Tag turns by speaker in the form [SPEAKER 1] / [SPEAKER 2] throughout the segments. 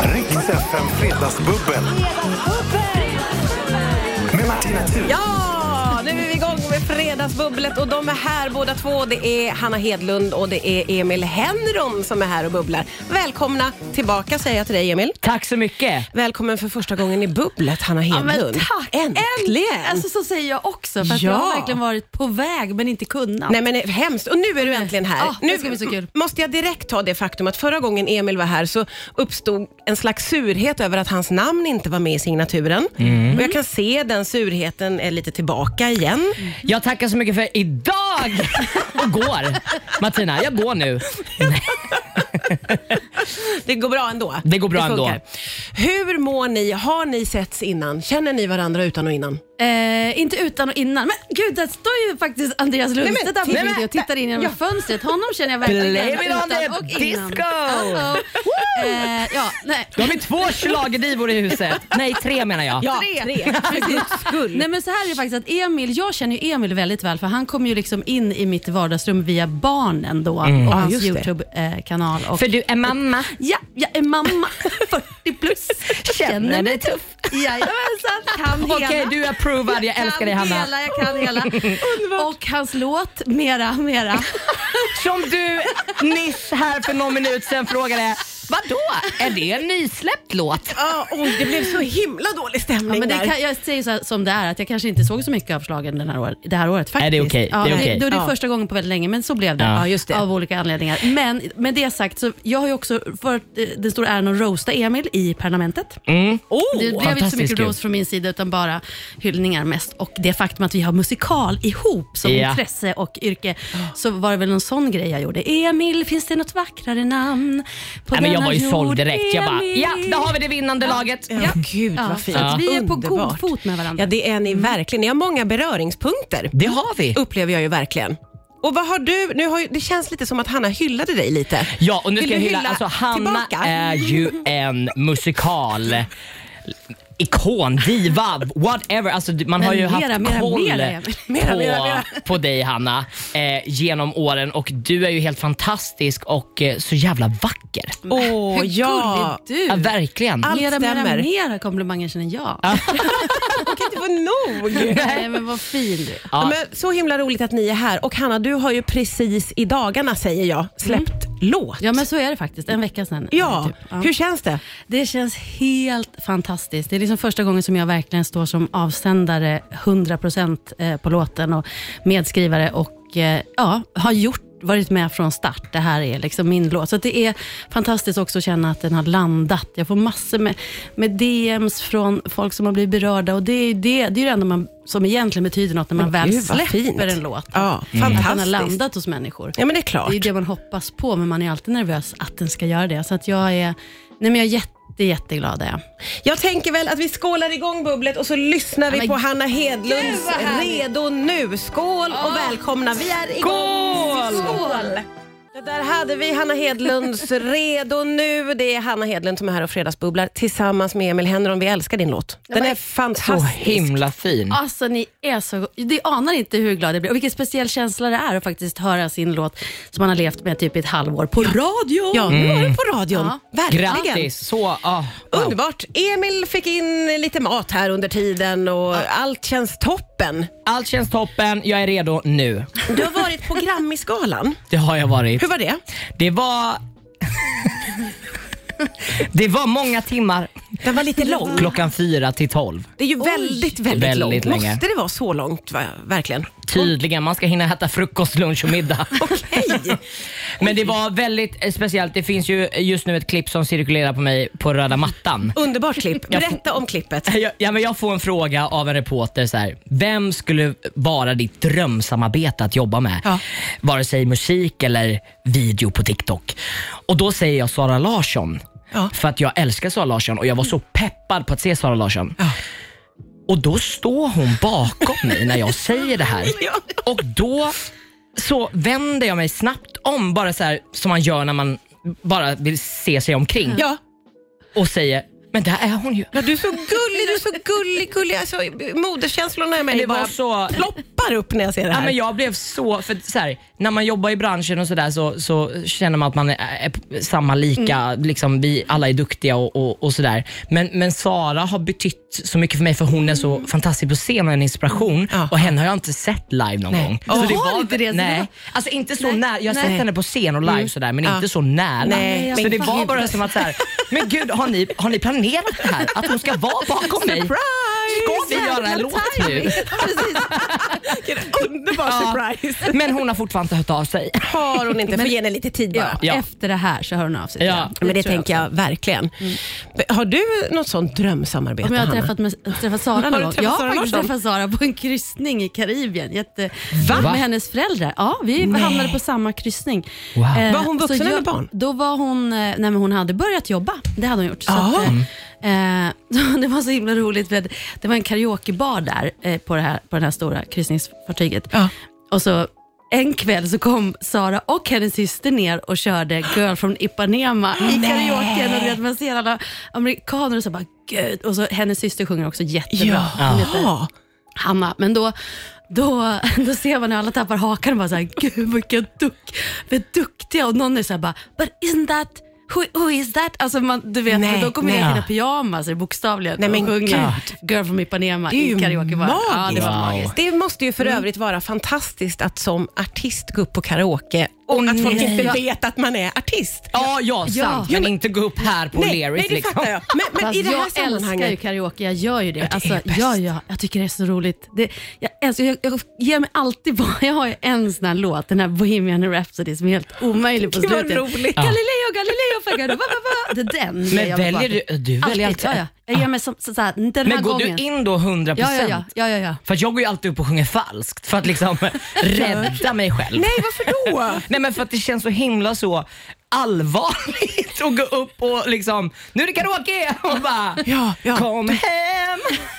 [SPEAKER 1] FM Fredagsbubbel med Martina Thun.
[SPEAKER 2] Ja, nu är vi igång med Fredagsbubblet och de är här båda två. Det är Hanna Hedlund och det är Emil Henrom som är här och bubblar. Välkomna tillbaka säger jag till dig Emil.
[SPEAKER 3] Tack så mycket.
[SPEAKER 2] Välkommen för första gången i bubblet Hanna Hedlund.
[SPEAKER 4] men tack.
[SPEAKER 2] Äntligen!
[SPEAKER 4] Alltså så säger jag också för att
[SPEAKER 2] Ja.
[SPEAKER 4] jag har verkligen varit på väg men inte kunnat.
[SPEAKER 2] Nej men det är hemskt. Och nu är du äntligen här.
[SPEAKER 4] Ah, det
[SPEAKER 2] nu
[SPEAKER 4] ska bli så kul.
[SPEAKER 2] måste jag direkt ta det faktum att förra gången Emil var här så uppstod en slags surhet över att hans namn inte var med i signaturen.
[SPEAKER 4] Mm.
[SPEAKER 2] Och jag kan se den surheten är lite tillbaka igen.
[SPEAKER 3] Jag tackar så mycket för idag och går. Martina, jag går nu.
[SPEAKER 2] Det går bra ändå.
[SPEAKER 3] Det går bra
[SPEAKER 2] funkar.
[SPEAKER 3] ändå.
[SPEAKER 2] Hur mår ni? Har ni setts innan? Känner ni varandra utan och innan?
[SPEAKER 4] Eh, inte utan och innan. Men gud, där står ju faktiskt Andreas Lundstedt där på
[SPEAKER 3] nej, men-
[SPEAKER 4] video och tittar in genom fönstret. Honom känner jag verkligen
[SPEAKER 3] Blame
[SPEAKER 4] igen,
[SPEAKER 3] it on
[SPEAKER 4] utan
[SPEAKER 3] the
[SPEAKER 4] och innan.
[SPEAKER 3] disco.
[SPEAKER 4] Uh-oh. Eh, ja, nej.
[SPEAKER 3] Då har vi två schlagerdivor i huset. Nej, tre menar jag.
[SPEAKER 4] Tre.
[SPEAKER 2] För guds skull.
[SPEAKER 4] Nej men så här är det faktiskt att Emil, jag känner ju Emil väldigt väl för han kom ju liksom in i mitt vardagsrum via barnen då
[SPEAKER 3] Mm.
[SPEAKER 4] och hans
[SPEAKER 2] just det.
[SPEAKER 4] Youtube-kanal. Och
[SPEAKER 3] För du är mamma.
[SPEAKER 4] Ja, jag är mamma, 40 plus.
[SPEAKER 3] Känner dig tuff.
[SPEAKER 4] Jajamensan, kan hela.
[SPEAKER 3] Okej, du är approvad. Jag älskar
[SPEAKER 4] kan
[SPEAKER 3] dig Hanna.
[SPEAKER 4] Hela, jag kan hela. Och hans låt, mera, mera.
[SPEAKER 3] Som du nyss här för någon minut sedan frågade. Vadå? Är det en nysläppt låt?
[SPEAKER 2] Ah, åh, det blev så himla dålig stämning
[SPEAKER 4] Ja, men det
[SPEAKER 2] där.
[SPEAKER 4] kan, jag säger så här, som det är, att jag kanske inte såg så mycket av slagen den här år, det här året faktiskt.
[SPEAKER 3] Nej, det är okej, det
[SPEAKER 4] Ja,
[SPEAKER 3] är okej.
[SPEAKER 4] Då är det
[SPEAKER 2] Ja.
[SPEAKER 4] första gången på väldigt länge, men så blev det.
[SPEAKER 3] Ja.
[SPEAKER 2] Ja, just det.
[SPEAKER 4] Av olika anledningar. Men med det sagt, så jag har ju också fått eh, den stora äran att roasta Emil i Parlamentet.
[SPEAKER 2] Åh,
[SPEAKER 4] Det blev inte så
[SPEAKER 3] fantastiskt
[SPEAKER 4] mycket
[SPEAKER 3] Oh, kul.
[SPEAKER 4] roast från min sida utan bara hyllningar mest. Och det faktum att vi har musikal ihop som
[SPEAKER 3] Ja.
[SPEAKER 4] intresse och yrke, så var det väl någon sån grej jag gjorde. Emil, finns det något vackrare namn på
[SPEAKER 3] Nej, men jag
[SPEAKER 4] denna
[SPEAKER 3] var ju såld
[SPEAKER 4] jord?
[SPEAKER 3] direkt. Jag bara,
[SPEAKER 4] Emil.
[SPEAKER 3] ja, där har vi det vinnande laget.
[SPEAKER 2] Ja, gud
[SPEAKER 4] Ja,
[SPEAKER 2] vad fint.
[SPEAKER 4] så att vi är på
[SPEAKER 2] Underbart.
[SPEAKER 4] god fot med varandra. Mm.
[SPEAKER 2] Ja, det är ni verkligen. Ni har många beröringspunkter.
[SPEAKER 3] Det har vi.
[SPEAKER 2] Upplever jag ju verkligen. Och vad har du, nu har ju, det känns lite som att Hanna hyllade dig lite.
[SPEAKER 3] Ja, och nu
[SPEAKER 2] Vill
[SPEAKER 3] ska jag
[SPEAKER 2] du
[SPEAKER 3] hylla, alltså Hanna
[SPEAKER 2] tillbaka?
[SPEAKER 3] är ju en musikal ikon, diva, whatever. Alltså, du- man har ju
[SPEAKER 4] Men
[SPEAKER 3] haft
[SPEAKER 4] mera, mera,
[SPEAKER 3] koll
[SPEAKER 4] mera,
[SPEAKER 2] mera, mera,
[SPEAKER 3] på,
[SPEAKER 2] mera.
[SPEAKER 3] på dig Hanna eh, genom åren och du är ju helt fantastisk och eh, så jävla vacker.
[SPEAKER 2] Åh, ja.
[SPEAKER 4] Hur gullig
[SPEAKER 3] Ja,
[SPEAKER 4] du
[SPEAKER 3] verkligen.
[SPEAKER 2] Allt
[SPEAKER 4] Mera, mera,
[SPEAKER 2] stämmer.
[SPEAKER 4] mera komplimanger känner jag.
[SPEAKER 2] Jag kan inte få nog.
[SPEAKER 4] Nej, men vad fin du är.
[SPEAKER 2] Ja.
[SPEAKER 3] Ja.
[SPEAKER 2] Men så himla roligt att ni är här. Och Hanna, du har ju precis i dagarna, säger jag, släppt låt.
[SPEAKER 4] Mm. Ja, men så är det faktiskt. En vecka sedan.
[SPEAKER 2] Ja,
[SPEAKER 4] typ. Ja.
[SPEAKER 2] hur känns det?
[SPEAKER 4] Det känns helt fantastiskt. Det är liksom första gången som jag verkligen står som avsändare 100% eh, på låten och medskrivare och eh, ja, har gjort varit med från start. Det här är liksom min låt. Så att det är fantastiskt också att känna att den har landat. Jag får massor med, med DMs från folk som har blivit berörda och det är ju det, det, är ju det enda man, som egentligen betyder något när man väl
[SPEAKER 2] gud, vad
[SPEAKER 4] släpper
[SPEAKER 2] fint.
[SPEAKER 4] en låt.
[SPEAKER 2] Ja,
[SPEAKER 4] Att den har
[SPEAKER 2] fantastiskt.
[SPEAKER 4] landat hos människor.
[SPEAKER 2] Ja, men det är klart.
[SPEAKER 4] Det är ju det man hoppas på, men man är alltid nervös att den ska göra det. Så att jag är, nej men jag är jätte, jätteglad. Är jag.
[SPEAKER 2] Jag tänker väl att vi skålar igång bubblet och så lyssnar vi
[SPEAKER 4] men
[SPEAKER 2] på Hanna Hedlunds Redo nu. Skål och välkomna. Vi är igång. Skål! Det där hade vi Hanna Hedlunds Redo nu. Det är Hanna Hedlund som är här och fredagsbubblar tillsammans med Emil Henron. Vi älskar din låt. Den är
[SPEAKER 3] Så
[SPEAKER 2] fantastisk.
[SPEAKER 3] himla fin.
[SPEAKER 4] Alltså ni är så, det anar inte hur glad jag blir och vilken speciell känsla det är att faktiskt höra sin låt som man har levt med typ i ett halvår på radio.
[SPEAKER 2] Ja, nu var den på radion.
[SPEAKER 4] Ja.
[SPEAKER 2] Verkligen.
[SPEAKER 3] Grattis! Så, ah, wow.
[SPEAKER 2] Underbart. Emil fick in lite mat här under tiden och allt känns toppen.
[SPEAKER 3] Allt känns toppen, jag är redo nu.
[SPEAKER 2] Du har varit på Grammisgalan.
[SPEAKER 3] Det har jag varit.
[SPEAKER 2] Hur var det?
[SPEAKER 3] Det var... det var många timmar.
[SPEAKER 2] Den var lite lång.
[SPEAKER 3] Klockan fyra till tolv.
[SPEAKER 2] Det är ju väldigt, väldigt,
[SPEAKER 3] Väldigt
[SPEAKER 2] långt.
[SPEAKER 3] länge.
[SPEAKER 2] Måste det vara så långt va? verkligen?
[SPEAKER 3] Tydligen, man ska hinna äta frukost, lunch och middag.
[SPEAKER 2] Hej!
[SPEAKER 3] Men det var väldigt eh, speciellt. Det finns ju just nu ett klipp som cirkulerar på mig på röda mattan.
[SPEAKER 2] Underbart klipp. Berätta om klippet.
[SPEAKER 3] Jag, ja, men jag får en fråga av en reporter. Så här, vem skulle vara ditt drömsamarbete att jobba med?
[SPEAKER 2] Ja.
[SPEAKER 3] Vare sig musik eller video på TikTok. Och Då säger jag Sara Larsson.
[SPEAKER 2] Ja.
[SPEAKER 3] För att jag älskar Sara Larsson och jag var så peppad på att se Sara Larsson.
[SPEAKER 2] Ja.
[SPEAKER 3] Och då står hon bakom mig när jag säger det här.
[SPEAKER 2] Ja.
[SPEAKER 3] Och då så vänder jag mig snabbt om, bara så här som man gör när man bara vill se sig omkring
[SPEAKER 2] Ja.
[SPEAKER 3] och säger Men där är hon ju.
[SPEAKER 2] Ja, du är så gullig, du är så gullig, gullig. Alltså, moderskänslorna i mig
[SPEAKER 3] Det var
[SPEAKER 2] bara
[SPEAKER 3] så-
[SPEAKER 2] ploppar upp när jag ser det
[SPEAKER 3] Ja,
[SPEAKER 2] här.
[SPEAKER 3] men jag blev så, för så här, när man jobbar i branschen och sådär så, så känner man att man är, är samma lika,
[SPEAKER 4] Mm.
[SPEAKER 3] liksom, vi alla är duktiga och, och, och sådär. Men, men Sara har betytt så mycket för mig för hon är
[SPEAKER 4] Mm.
[SPEAKER 3] så fantastisk på scen och en inspiration
[SPEAKER 2] Ja.
[SPEAKER 3] och henne har jag inte sett live någon
[SPEAKER 2] Nej.
[SPEAKER 3] gång.
[SPEAKER 2] Du
[SPEAKER 3] Så
[SPEAKER 4] har inte det, så det
[SPEAKER 3] Nej.
[SPEAKER 4] var-
[SPEAKER 3] Alltså inte så
[SPEAKER 4] Nej.
[SPEAKER 3] nära, jag har
[SPEAKER 4] Nej. Mm.
[SPEAKER 3] sett henne på scen och live sådär men inte så nära.
[SPEAKER 2] Nej,
[SPEAKER 3] så
[SPEAKER 2] men
[SPEAKER 3] det var
[SPEAKER 4] gud.
[SPEAKER 3] bara som att såhär, men gud har ni, har ni planerat det här? Att hon ska vara bakom mig? Ska vi göra en låt nu?
[SPEAKER 4] Precis.
[SPEAKER 2] Vilken underbar surprise.
[SPEAKER 3] Men hon har fortfarande inte hört av sig.
[SPEAKER 2] Har hon inte, får ge henne lite tid bara.
[SPEAKER 4] Ja.
[SPEAKER 3] Ja.
[SPEAKER 4] Efter det här så hör hon av sig.
[SPEAKER 3] Ja.
[SPEAKER 4] till den.
[SPEAKER 2] Men det
[SPEAKER 4] tror
[SPEAKER 2] tänker jag verkligen. Har du något sånt drömsamarbete,
[SPEAKER 4] Om jag har
[SPEAKER 2] Hanna?
[SPEAKER 4] träffat, med, träffat Sara
[SPEAKER 2] Har
[SPEAKER 4] någon
[SPEAKER 2] du
[SPEAKER 4] gång.
[SPEAKER 2] träffat
[SPEAKER 4] Jag
[SPEAKER 2] Sara
[SPEAKER 4] har faktiskt
[SPEAKER 2] Larsson?
[SPEAKER 4] träffat Sara på en kryssning i Karibien. Jätte...
[SPEAKER 3] Va?
[SPEAKER 4] Med hennes föräldrar. Ja, vi
[SPEAKER 3] Nej.
[SPEAKER 4] hamnade på samma kryssning. Eh,
[SPEAKER 3] Wow.
[SPEAKER 2] Var hon vuxen
[SPEAKER 4] så jag-
[SPEAKER 2] eller barn?
[SPEAKER 4] Då var hon, eh, nej men hon hade börjat jobba. Det hade hon gjort.
[SPEAKER 2] Ah.
[SPEAKER 4] Så att, eh, eh, det var så himla roligt. För att det var en karaokebar där eh, på det här, på det här stora kryssningsfartyget.
[SPEAKER 2] Ja.
[SPEAKER 4] Och så en kväll så kom Sara och hennes syster ner och körde Girl from Ipanema i karaoken. Och du vet, man ser alla amerikaner och så bara gud. Och så hennes syster sjunger också jättebra. Hon heter
[SPEAKER 2] Jaha.
[SPEAKER 4] Hanna. Men då, då, då ser man hur alla tappar hakan och bara så här, gud vilka duk, vad duktiga. Och någon är så här bara, but isn't that Who, who is that? Alltså man, du vet,
[SPEAKER 2] Nej,
[SPEAKER 4] och då kommer jag i
[SPEAKER 2] nej.
[SPEAKER 4] sina pyjamaser bokstavligen
[SPEAKER 2] Nej, men
[SPEAKER 4] och sjunger Girl from Ipanema
[SPEAKER 2] Det är
[SPEAKER 4] i
[SPEAKER 2] ju
[SPEAKER 4] karaokebaren. Ja, det
[SPEAKER 2] magiskt.
[SPEAKER 4] var magiskt. Mm.
[SPEAKER 2] Det måste ju för övrigt vara fantastiskt att som artist gå upp på karaoke och
[SPEAKER 3] Åh,
[SPEAKER 2] att folk
[SPEAKER 3] nej.
[SPEAKER 2] inte vet att man är artist.
[SPEAKER 3] Ja, ja, sant.
[SPEAKER 4] Ja.
[SPEAKER 3] Men inte gå upp här på
[SPEAKER 2] Nej, nej
[SPEAKER 3] Leris
[SPEAKER 2] det
[SPEAKER 3] liksom.
[SPEAKER 2] fattar jag. Men, men
[SPEAKER 4] Fast
[SPEAKER 2] i det här
[SPEAKER 4] jag älskar ju
[SPEAKER 2] sammanhanget.
[SPEAKER 4] karaoke, jag gör ju det.
[SPEAKER 2] det är
[SPEAKER 4] alltså,
[SPEAKER 2] ju bäst.
[SPEAKER 4] ja, ja, jag tycker det är så roligt. Det, jag, älskar, jag, jag ger mig alltid på, jag har ju en sån här låt, den här Bohemian Rhapsody som är helt omöjlig på
[SPEAKER 2] Gud, vad
[SPEAKER 4] slutet.
[SPEAKER 2] roligt.
[SPEAKER 4] Galileo, Galileo, Fagado, va, va, va. Det är den ger
[SPEAKER 3] Men
[SPEAKER 4] jag mig
[SPEAKER 3] väljer
[SPEAKER 4] på.
[SPEAKER 3] du- du väljer alltid-
[SPEAKER 4] Ja, ja. Jag ger mig som, så, så här, den här
[SPEAKER 3] Men går
[SPEAKER 4] gången.
[SPEAKER 3] du in då 100%?
[SPEAKER 4] Ja, ja, ja. ja, ja, ja.
[SPEAKER 3] För att jag går ju alltid upp och sjunger falskt för att liksom rädda mig själv.
[SPEAKER 2] Nej, varför då?
[SPEAKER 3] Nej men för att det känns så himla så allvarligt att gå upp och liksom, nu är det karaoke och bara
[SPEAKER 2] Ja, ja.
[SPEAKER 3] kom hem,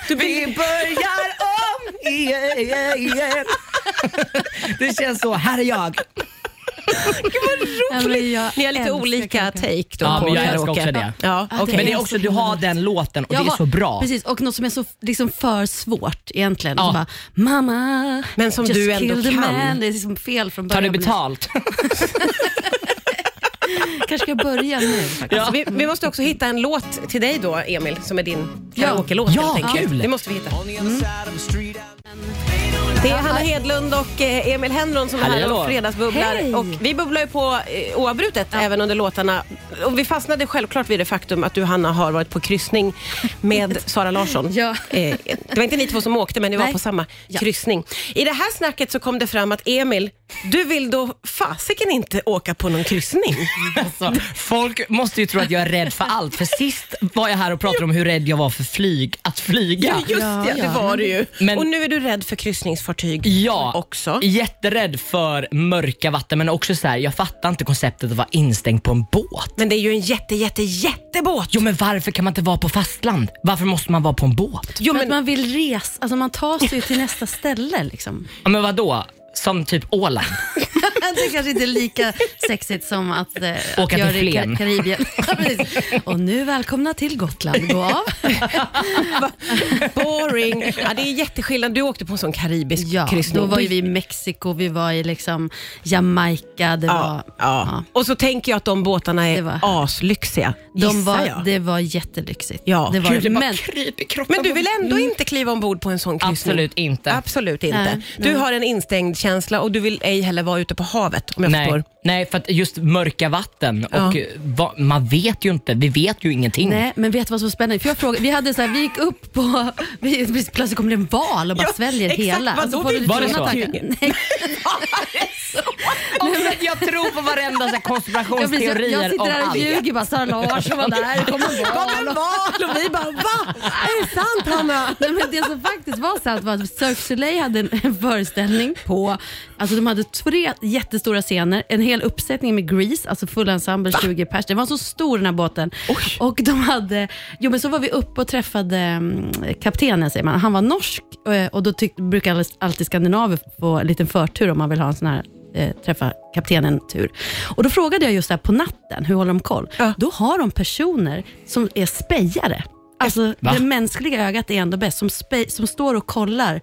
[SPEAKER 3] vi börjar om igen. Det känns så, här är jag.
[SPEAKER 4] Ja, men jag
[SPEAKER 2] Ni har lite
[SPEAKER 4] älskar
[SPEAKER 2] olika
[SPEAKER 4] karaoke.
[SPEAKER 2] take då
[SPEAKER 3] Ja,
[SPEAKER 2] på
[SPEAKER 3] men jag älskar
[SPEAKER 2] karaoke.
[SPEAKER 3] också det.
[SPEAKER 2] Ja,
[SPEAKER 4] Ja,
[SPEAKER 2] okej.
[SPEAKER 4] det
[SPEAKER 3] Men det är
[SPEAKER 4] är
[SPEAKER 3] också,
[SPEAKER 4] så
[SPEAKER 3] du har
[SPEAKER 4] himla
[SPEAKER 3] den låten och
[SPEAKER 4] Jag
[SPEAKER 3] det är
[SPEAKER 4] har-
[SPEAKER 3] så bra.
[SPEAKER 4] Precis, och något som är så liksom för svårt egentligen.
[SPEAKER 3] Ja.
[SPEAKER 4] Så bara, Mamma,
[SPEAKER 2] Men som
[SPEAKER 4] just
[SPEAKER 2] du ändå
[SPEAKER 4] killed a
[SPEAKER 2] kan.
[SPEAKER 4] Man. Det är liksom fel från
[SPEAKER 3] Tar
[SPEAKER 4] början.
[SPEAKER 3] du betalt?
[SPEAKER 4] kanske ska jag börja nu. faktiskt.
[SPEAKER 2] Alltså, vi, vi måste också hitta en låt till dig då, Emil, som är din karaoke-låt
[SPEAKER 3] Ja,
[SPEAKER 2] helt enkelt.
[SPEAKER 3] kul.
[SPEAKER 2] Det måste vi hitta. Mm. Det är Hanna Hedlund och eh, Emil Henron som är
[SPEAKER 3] Hallå,
[SPEAKER 2] här och
[SPEAKER 3] hallå.
[SPEAKER 2] fredagsbubblar.
[SPEAKER 4] Hej.
[SPEAKER 2] Och vi bubblar ju på eh, oavbrutet även under låtarna. Och vi fastnade självklart vid det faktum att du, Hanna, har varit på kryssning med Sara Larsson.
[SPEAKER 4] Ja.
[SPEAKER 2] Eh, Det var inte ni två som åkte, men ni var
[SPEAKER 4] Nej.
[SPEAKER 2] på samma
[SPEAKER 4] Ja.
[SPEAKER 2] kryssning. I det här snacket så kom det fram att Emil, du vill då fasiken inte åka på någon kryssning.
[SPEAKER 3] Alltså, folk måste ju tro att jag är rädd för allt. För sist var jag här och pratade om hur rädd jag var för flyg, att flyga.
[SPEAKER 2] Ja, just
[SPEAKER 4] Ja,
[SPEAKER 2] det,
[SPEAKER 4] ja.
[SPEAKER 2] det var du ju.
[SPEAKER 3] Men-
[SPEAKER 2] och nu är du rädd för kryssningsfartyg
[SPEAKER 3] Ja,
[SPEAKER 2] också.
[SPEAKER 3] jätterädd för mörka vatten men också så här, jag fattar inte konceptet att vara instängd på en båt.
[SPEAKER 2] Men det är ju en jätte, jätte, jättebåt.
[SPEAKER 3] Jo men varför kan man inte vara på fastland? Varför måste man vara på en båt?
[SPEAKER 2] Jo,
[SPEAKER 4] För
[SPEAKER 2] men,
[SPEAKER 4] att man vill resa, alltså man tar sig ju till nästa ställe. Liksom.
[SPEAKER 3] Ja, men vadå? Som typ Åland?
[SPEAKER 4] Det kanske inte är lika sexigt som att eh,
[SPEAKER 3] Åka
[SPEAKER 4] att
[SPEAKER 3] till
[SPEAKER 4] göra det i
[SPEAKER 3] Flen.
[SPEAKER 4] Ka- Karibien. Ja, precis. och nu välkomna till Gotland. Gå av.
[SPEAKER 2] boring. Ja, det är jätteskillnad. Du åkte på en sån karibisk
[SPEAKER 4] Ja,
[SPEAKER 2] kryssning.
[SPEAKER 4] då var ju vi i Mexiko, vi var i liksom Jamaica. Det
[SPEAKER 2] Ja,
[SPEAKER 4] var,
[SPEAKER 2] ja. Och så tänker jag att de båtarna är
[SPEAKER 4] Det var-
[SPEAKER 2] aslyxiga,
[SPEAKER 4] De
[SPEAKER 2] gissar
[SPEAKER 4] var,
[SPEAKER 2] jag.
[SPEAKER 4] det var jättelyxigt.
[SPEAKER 2] Ja.
[SPEAKER 4] det var,
[SPEAKER 2] Gud, det
[SPEAKER 3] typ bara
[SPEAKER 4] men
[SPEAKER 3] kryper i kroppen.
[SPEAKER 2] Men du vill ändå inte kliva ombord på en sån kryssning?
[SPEAKER 3] Absolut inte.
[SPEAKER 2] Absolut inte.
[SPEAKER 4] Mm. Nej,
[SPEAKER 2] Du har en instängd känsla och du vill ej heller vara ute på havet om jag
[SPEAKER 3] Nej,
[SPEAKER 2] förstår.
[SPEAKER 3] nej, för att just mörka vatten och
[SPEAKER 2] Ja.
[SPEAKER 3] eh, va, man vet ju inte, vi vet ju ingenting.
[SPEAKER 4] Nej, men vet du vad som var spännande? För jag frågade, vi, hade så här, vi gick upp på... Vi, plötsligt kom det en val och bara
[SPEAKER 2] Ja,
[SPEAKER 4] sväljer
[SPEAKER 2] exakt,
[SPEAKER 4] hela. Alltså,
[SPEAKER 2] vadå
[SPEAKER 4] får du
[SPEAKER 2] vi-
[SPEAKER 4] lite
[SPEAKER 3] Var det
[SPEAKER 4] såna
[SPEAKER 3] så?
[SPEAKER 4] tankar. Nej,
[SPEAKER 3] Och att jag tror på varenda så här
[SPEAKER 4] jag, blir så-
[SPEAKER 3] konspirationsteorier
[SPEAKER 4] jag sitter
[SPEAKER 3] om
[SPEAKER 4] där och
[SPEAKER 3] allt.
[SPEAKER 4] ljuger bara. Sara Larsson var där, det kom en val.
[SPEAKER 2] Kom en val och vi bara va? Är det sant Hanna?
[SPEAKER 4] Nej, men det som faktiskt var sant var att Cirque du Soleil hade en, en föreställning på, alltså de hade tre jättestora scener, en hel uppsättning med Grease, alltså full ensemble, 20 pers. Den var så stor den här båten. Och de hade, jo men så var vi uppe och träffade mm, kaptenen säger man, han var norsk eh, och då tyck, brukar alla- alltid skandinaver få en liten förtur om man vill ha en sån här eh, träffa kaptenen Tur. Och då frågade jag just det här på natten, hur håller de koll?
[SPEAKER 2] Ja.
[SPEAKER 4] Då har de personer som är spejare. Alltså
[SPEAKER 3] Va?
[SPEAKER 4] det mänskliga ögat är ändå bäst, som, spe, som står och kollar.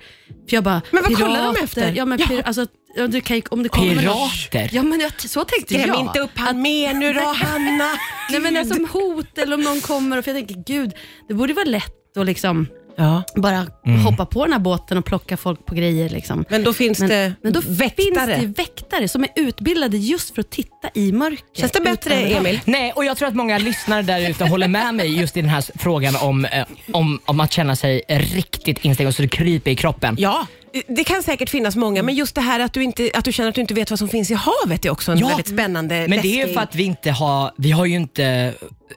[SPEAKER 4] För jag bara,
[SPEAKER 2] Men vad kollar de
[SPEAKER 4] pirater?
[SPEAKER 2] efter?
[SPEAKER 4] Ja, men, pir, alltså, ja, du kan, ju- om du kommer med någon-
[SPEAKER 3] Pirater?
[SPEAKER 4] Ja, men jag, så tänkte
[SPEAKER 2] Skräm
[SPEAKER 4] jag.
[SPEAKER 2] inte upp han mer nu då, Hanna.
[SPEAKER 4] Nej, men alltså, om hot eller om någon kommer. och- För jag tänker, gud, det borde vara lätt att liksom
[SPEAKER 2] Ja.
[SPEAKER 4] bara hoppa på den här båten och plocka folk på grejer. Liksom.
[SPEAKER 2] Mm. Men då finns det
[SPEAKER 4] men då finns
[SPEAKER 2] väktare.
[SPEAKER 4] det väktare som är utbildade just för att titta i mörker.
[SPEAKER 2] Känns det bättre,
[SPEAKER 4] Utan-
[SPEAKER 2] Emil?
[SPEAKER 3] Nej, och jag tror att många lyssnare där ute håller med mig just i den här s- frågan om, eh, om, om att känna sig riktigt instängd och så det kryper i kroppen.
[SPEAKER 2] Ja, det kan säkert finnas många, men just det här att du, inte, att du känner att du inte vet vad som finns i havet är också en
[SPEAKER 3] Ja,
[SPEAKER 2] väldigt spännande,
[SPEAKER 3] Men det är ju
[SPEAKER 2] läskig-
[SPEAKER 3] för att vi inte har, vi har ju inte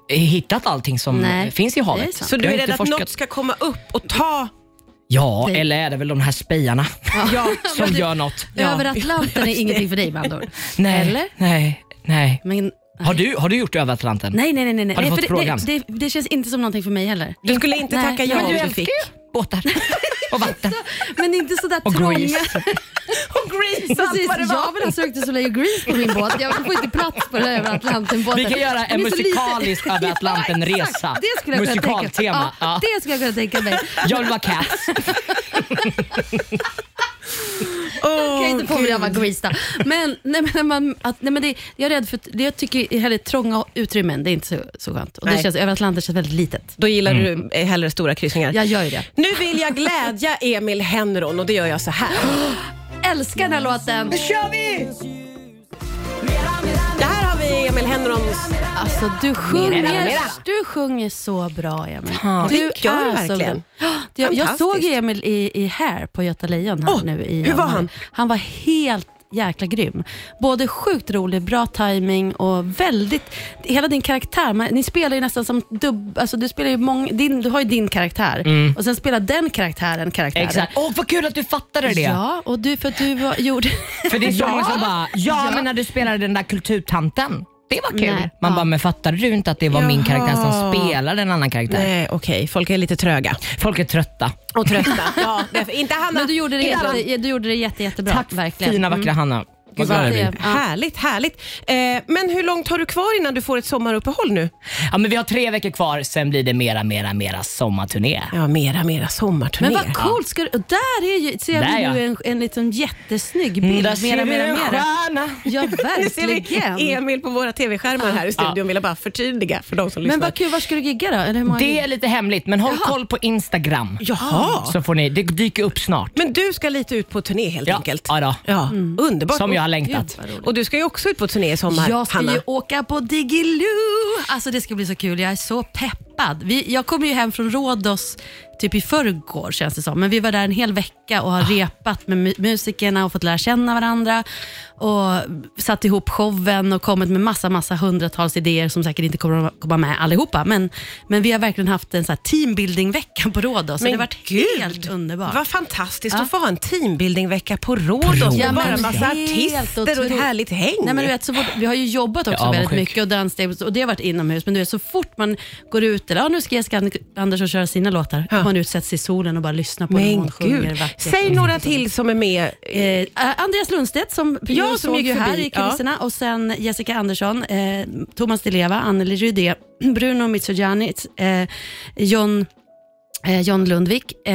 [SPEAKER 3] eh, hittat allting som
[SPEAKER 4] Nej,
[SPEAKER 3] eh, finns i havet.
[SPEAKER 4] det är sant.
[SPEAKER 2] Så
[SPEAKER 3] Vi
[SPEAKER 2] du är
[SPEAKER 3] har inte
[SPEAKER 2] rädd att
[SPEAKER 3] forskat-
[SPEAKER 2] något ska komma upp och ta...
[SPEAKER 3] Ja,
[SPEAKER 4] Nej.
[SPEAKER 3] eller är det väl de här spejarna
[SPEAKER 2] Ja.
[SPEAKER 3] som
[SPEAKER 4] typ
[SPEAKER 3] gör något?
[SPEAKER 4] Över Atlanten är ingenting för dig med andra ord.
[SPEAKER 3] Nej,
[SPEAKER 4] Eller?
[SPEAKER 3] nej, nej.
[SPEAKER 4] Men,
[SPEAKER 3] Har du, har du gjort Över Atlanten?
[SPEAKER 4] nej, nej, nej. nej. nej.
[SPEAKER 3] Har du
[SPEAKER 4] för
[SPEAKER 3] fått
[SPEAKER 4] det,
[SPEAKER 3] frågan?
[SPEAKER 4] Det, det, det känns inte som någonting för mig heller.
[SPEAKER 2] Du skulle inte
[SPEAKER 4] Nej,
[SPEAKER 2] tacka
[SPEAKER 4] nej,
[SPEAKER 2] ja
[SPEAKER 4] men
[SPEAKER 2] om
[SPEAKER 4] du
[SPEAKER 2] du
[SPEAKER 4] älskar
[SPEAKER 2] fick.
[SPEAKER 3] Båtar och vatten.
[SPEAKER 4] Men inte sådär
[SPEAKER 3] Och
[SPEAKER 4] trånga.
[SPEAKER 3] Grease.
[SPEAKER 2] Och Grease,
[SPEAKER 4] Precis,
[SPEAKER 2] vad det var.
[SPEAKER 4] jag vill ha Cirque du Soleil och Grease på min båt. Jag får inte plats på den här över Atlanten-båten.
[SPEAKER 3] Vi kan göra en
[SPEAKER 4] Den är så liten.
[SPEAKER 3] musikalisk Över Atlanten-resa.
[SPEAKER 4] Det skulle jag kunna tänka
[SPEAKER 3] Musikaltema.
[SPEAKER 4] Ja,
[SPEAKER 3] Ja.
[SPEAKER 4] Det skulle jag kunna tänka mig.
[SPEAKER 3] Jag vill vara Cats.
[SPEAKER 4] Jag kan inte på mig att jag var Grease då. Men, nej, men, när man, att, nej, men det, jag är rädd för att, det jag tycker heller trånga utrymmen, det är inte så, så skönt. Och det
[SPEAKER 2] Nej.
[SPEAKER 4] känns, över Atlanten känns väldigt litet.
[SPEAKER 2] Då gillar du eh, hellre stora kryssningar.
[SPEAKER 4] Mm. Jag gör ju det.
[SPEAKER 2] Nu vill jag glädja Emil Henron och det gör jag så här.
[SPEAKER 4] Älskar den här låten.
[SPEAKER 2] Det här har vi Emil Henrons...
[SPEAKER 4] Alltså du sjunger,
[SPEAKER 2] mera, mera.
[SPEAKER 4] Du sjunger så bra Emil.
[SPEAKER 2] det gör jag
[SPEAKER 4] så
[SPEAKER 2] verkligen.
[SPEAKER 4] bra. Ja, det- Jag, jag
[SPEAKER 2] Fantastiskt.
[SPEAKER 4] såg ju Emil i, i Hair på Göta Lejon här
[SPEAKER 2] Åh,
[SPEAKER 4] nu i
[SPEAKER 2] hur var han?
[SPEAKER 4] januari. Han var helt jäkla grym. Både sjukt rolig, bra timing och väldigt, hela din karaktär, man, ni spelar ju nästan som dubb, alltså du spelar ju mång, din, du har ju din karaktär och sen spelar den karaktären karaktären.
[SPEAKER 3] Mm. Exakt. Åh, vad kul att du fattade det.
[SPEAKER 4] Ja, och du för att du var, gjorde...
[SPEAKER 3] För det är så många som bara, ja, men när du spelade den där kulturtanten. Det var kul.
[SPEAKER 4] Nej,
[SPEAKER 3] Man
[SPEAKER 4] ja.
[SPEAKER 3] bara, men fattade du inte att det var min karaktär som spelade en annan karaktär?
[SPEAKER 2] Nej, Eh, okej. Folk är lite tröga.
[SPEAKER 3] Folk är trötta.
[SPEAKER 2] Och trötta. ja, därför. Inte Hanna.
[SPEAKER 4] Men du gjorde det,
[SPEAKER 2] Inte Hanna.
[SPEAKER 4] jätte, du gjorde det jätte, jättebra.
[SPEAKER 3] Tack
[SPEAKER 4] verkligen.
[SPEAKER 3] fina vackra Hanna. Vad glad jag
[SPEAKER 4] det-
[SPEAKER 3] blir.
[SPEAKER 4] Ja.
[SPEAKER 2] Härligt, härligt. Eh, men hur långt har du kvar innan du får ett sommaruppehåll nu?
[SPEAKER 3] Ja, men vi har tre veckor kvar, sen blir det mera, mera, mera sommarturné.
[SPEAKER 2] Ja, mera, mera sommarturné.
[SPEAKER 4] Men vad coolt! Ska du, och där är ju, ser
[SPEAKER 3] Där,
[SPEAKER 4] vi
[SPEAKER 3] ja. Mm.
[SPEAKER 4] nu en, en liten jättesnygg bild. mera, mera, mera. Ja,
[SPEAKER 2] Nu ser vi
[SPEAKER 4] verkligen.
[SPEAKER 2] Emil på våra tv-skärmar här i studion. Vill jag bara förtydliga för de som lyssnar.
[SPEAKER 4] Men vad kul, var ska du gigga då? Eller hur många
[SPEAKER 3] Det
[SPEAKER 4] gig?
[SPEAKER 3] är lite hemligt, men håll koll på Instagram.
[SPEAKER 2] Jaha.
[SPEAKER 3] Så får ni, det dyker upp snart.
[SPEAKER 2] Men du ska lite ut på turné helt
[SPEAKER 3] Ja,
[SPEAKER 2] enkelt.
[SPEAKER 3] ja då.
[SPEAKER 2] Ja,
[SPEAKER 4] Mm.
[SPEAKER 2] Underbart.
[SPEAKER 3] Som jag har längtat.
[SPEAKER 4] Gud, vad roligt.
[SPEAKER 2] Och du ska ju också ut på turné i sommar,
[SPEAKER 4] Jag ska
[SPEAKER 2] Hanna.
[SPEAKER 4] ju åka på Digiloo! Alltså det ska bli så kul, jag är så peppad. Vi, jag kommer ju hem från Rhodos typ i förrgår känns det som, men vi var där en hel vecka och har
[SPEAKER 2] Ah.
[SPEAKER 4] repat med mu- musikerna och fått lära känna varandra och satt ihop showen och kommit med massa, massa hundratals idéer som säkert inte kommer att komma med allihopa, men, men vi har verkligen haft en så här teambuilding-vecka på Rhodos, så det har varit helt underbart.
[SPEAKER 2] Vad fantastiskt
[SPEAKER 4] Ja.
[SPEAKER 2] att få ha en teambuildingvecka på Rhodos
[SPEAKER 3] Ja,
[SPEAKER 2] och bara
[SPEAKER 4] men
[SPEAKER 2] en massa
[SPEAKER 4] helt
[SPEAKER 2] artister och ett
[SPEAKER 4] otroligt.
[SPEAKER 2] härligt häng.
[SPEAKER 4] Nej, men du vet, så fort, vi har ju jobbat också
[SPEAKER 3] Jag är
[SPEAKER 4] väldigt
[SPEAKER 3] avundsjuk.
[SPEAKER 4] mycket och danssteg och det har varit inomhus. Men du vet, så fort man går ut, eller ja, nu ska Jessica Andersson köra sina låtar,
[SPEAKER 2] Ja.
[SPEAKER 4] man ut sätter sig i solen och bara lyssnar på när
[SPEAKER 2] Men
[SPEAKER 4] hon sjunger
[SPEAKER 2] gud.
[SPEAKER 4] vackert. Mm.
[SPEAKER 2] Säg några till som är med.
[SPEAKER 4] Eh, Andreas Lundstedt som
[SPEAKER 2] Ja,
[SPEAKER 4] jag
[SPEAKER 2] som
[SPEAKER 4] såg
[SPEAKER 2] gick
[SPEAKER 4] ju här
[SPEAKER 2] förbi,
[SPEAKER 4] i kulisserna och sen Jessica Andersson, eh, Thomas Di Leva, Anneli Rydé, Bruno Mitsogianni, eh, John, eh, John Lundvik, eh,